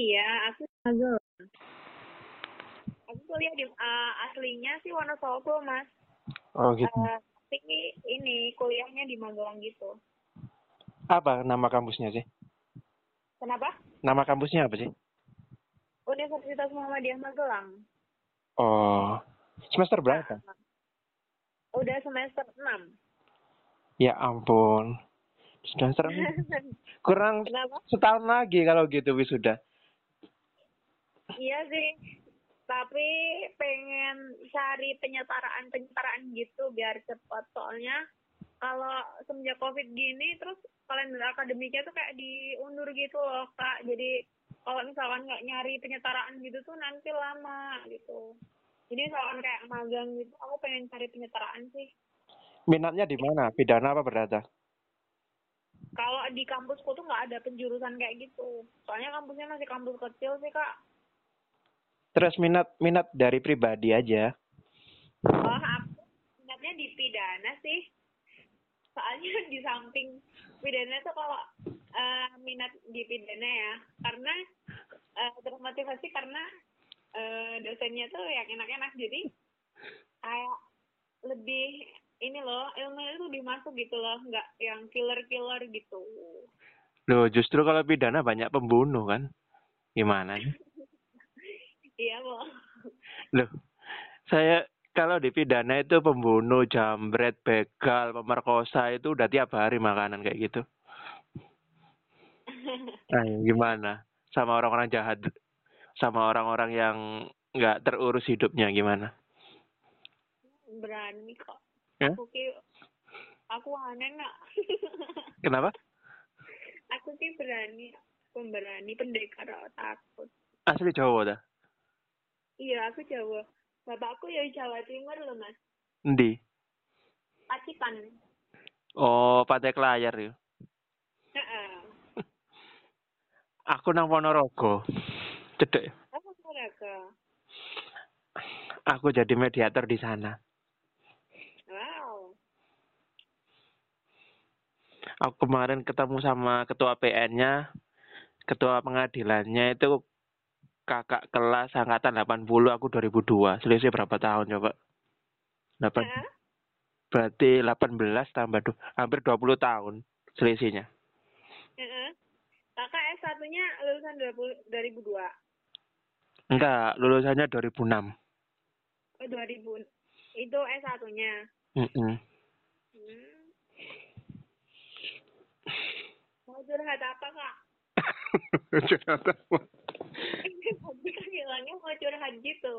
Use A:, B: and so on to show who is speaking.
A: Iya, aku
B: Agak.
A: aku kuliah di eh, aslinya sih Wonosobo, Mas.
C: Oh gitu.
A: Eh, tapi ini kuliahnya di Magelang gitu.
C: Apa nama kampusnya sih?
A: Kenapa?
C: Nama kampusnya apa sih?
A: Universitas Muhammadiyah Magelang.
C: Oh, semester berapa?
A: Udah semester 6.
C: Ya ampun. Semester enam. kurang
A: Kenapa?
C: setahun lagi kalau gitu wisuda.
A: Iya sih. Tapi pengen cari penyetaraan-penyetaraan gitu biar cepat. Soalnya kalau semenjak COVID gini terus kalender akademiknya tuh kayak diundur gitu loh, Kak. Jadi kalau misalkan nggak nyari penyetaraan gitu tuh nanti lama gitu. Jadi misalkan kayak magang gitu, aku pengen cari penyetaraan sih.
C: Minatnya di mana? Pidana apa perdata?
A: Kalau di kampusku tuh nggak ada penjurusan kayak gitu. Soalnya kampusnya masih kampus kecil sih, Kak.
C: Terus minat minat dari pribadi aja.
A: Oh, aku minatnya di pidana sih. Soalnya di samping pidana tuh kalau eh, minat di pidana ya, karena eh, termotivasi karena eh, dosennya tuh yang enak-enak jadi kayak lebih ini loh ilmunya tuh lebih masuk gitu loh, nggak yang killer-killer gitu.
C: Loh, justru kalau pidana banyak pembunuh kan? Gimana? sih?
A: Iya loh.
C: Loh, saya kalau di pidana itu pembunuh, jambret, begal, pemerkosa itu udah tiap hari makanan kayak gitu. Nah, gimana? Sama orang-orang jahat, sama orang-orang yang nggak terurus hidupnya gimana?
A: Berani kok.
C: Ya?
A: Aku ki aku aneh nggak?
C: Kenapa?
A: aku sih berani, pemberani, pendekar, nggak takut.
C: Asli Jawa dah.
A: Iya, aku Jawa. Bapakku ya Jawa Timur loh, Mas.
C: Endi?
A: Pacitan.
C: Oh, Pantai Kelayar yuk.
A: Heeh.
C: Aku nang Ponorogo. Cedek.
A: Aku Suraga.
C: Aku jadi mediator di sana.
A: Wow.
C: Aku kemarin ketemu sama ketua PN-nya, ketua pengadilannya itu kakak kelas angkatan 80, aku 2002. Selisih berapa tahun coba? 8,
A: Heeh.
C: berarti 18 tambah du- hampir 20 tahun selisihnya.
A: Heeh. Kakak S1-nya lulusan 20 2002.
C: Enggak, lulusannya 2006.
A: Oh, 2000. Itu S1-nya.
C: Mm-mm.
A: Hmm. Mau curhat apa, Kak? Tadi kan bilangnya mau curhat gitu.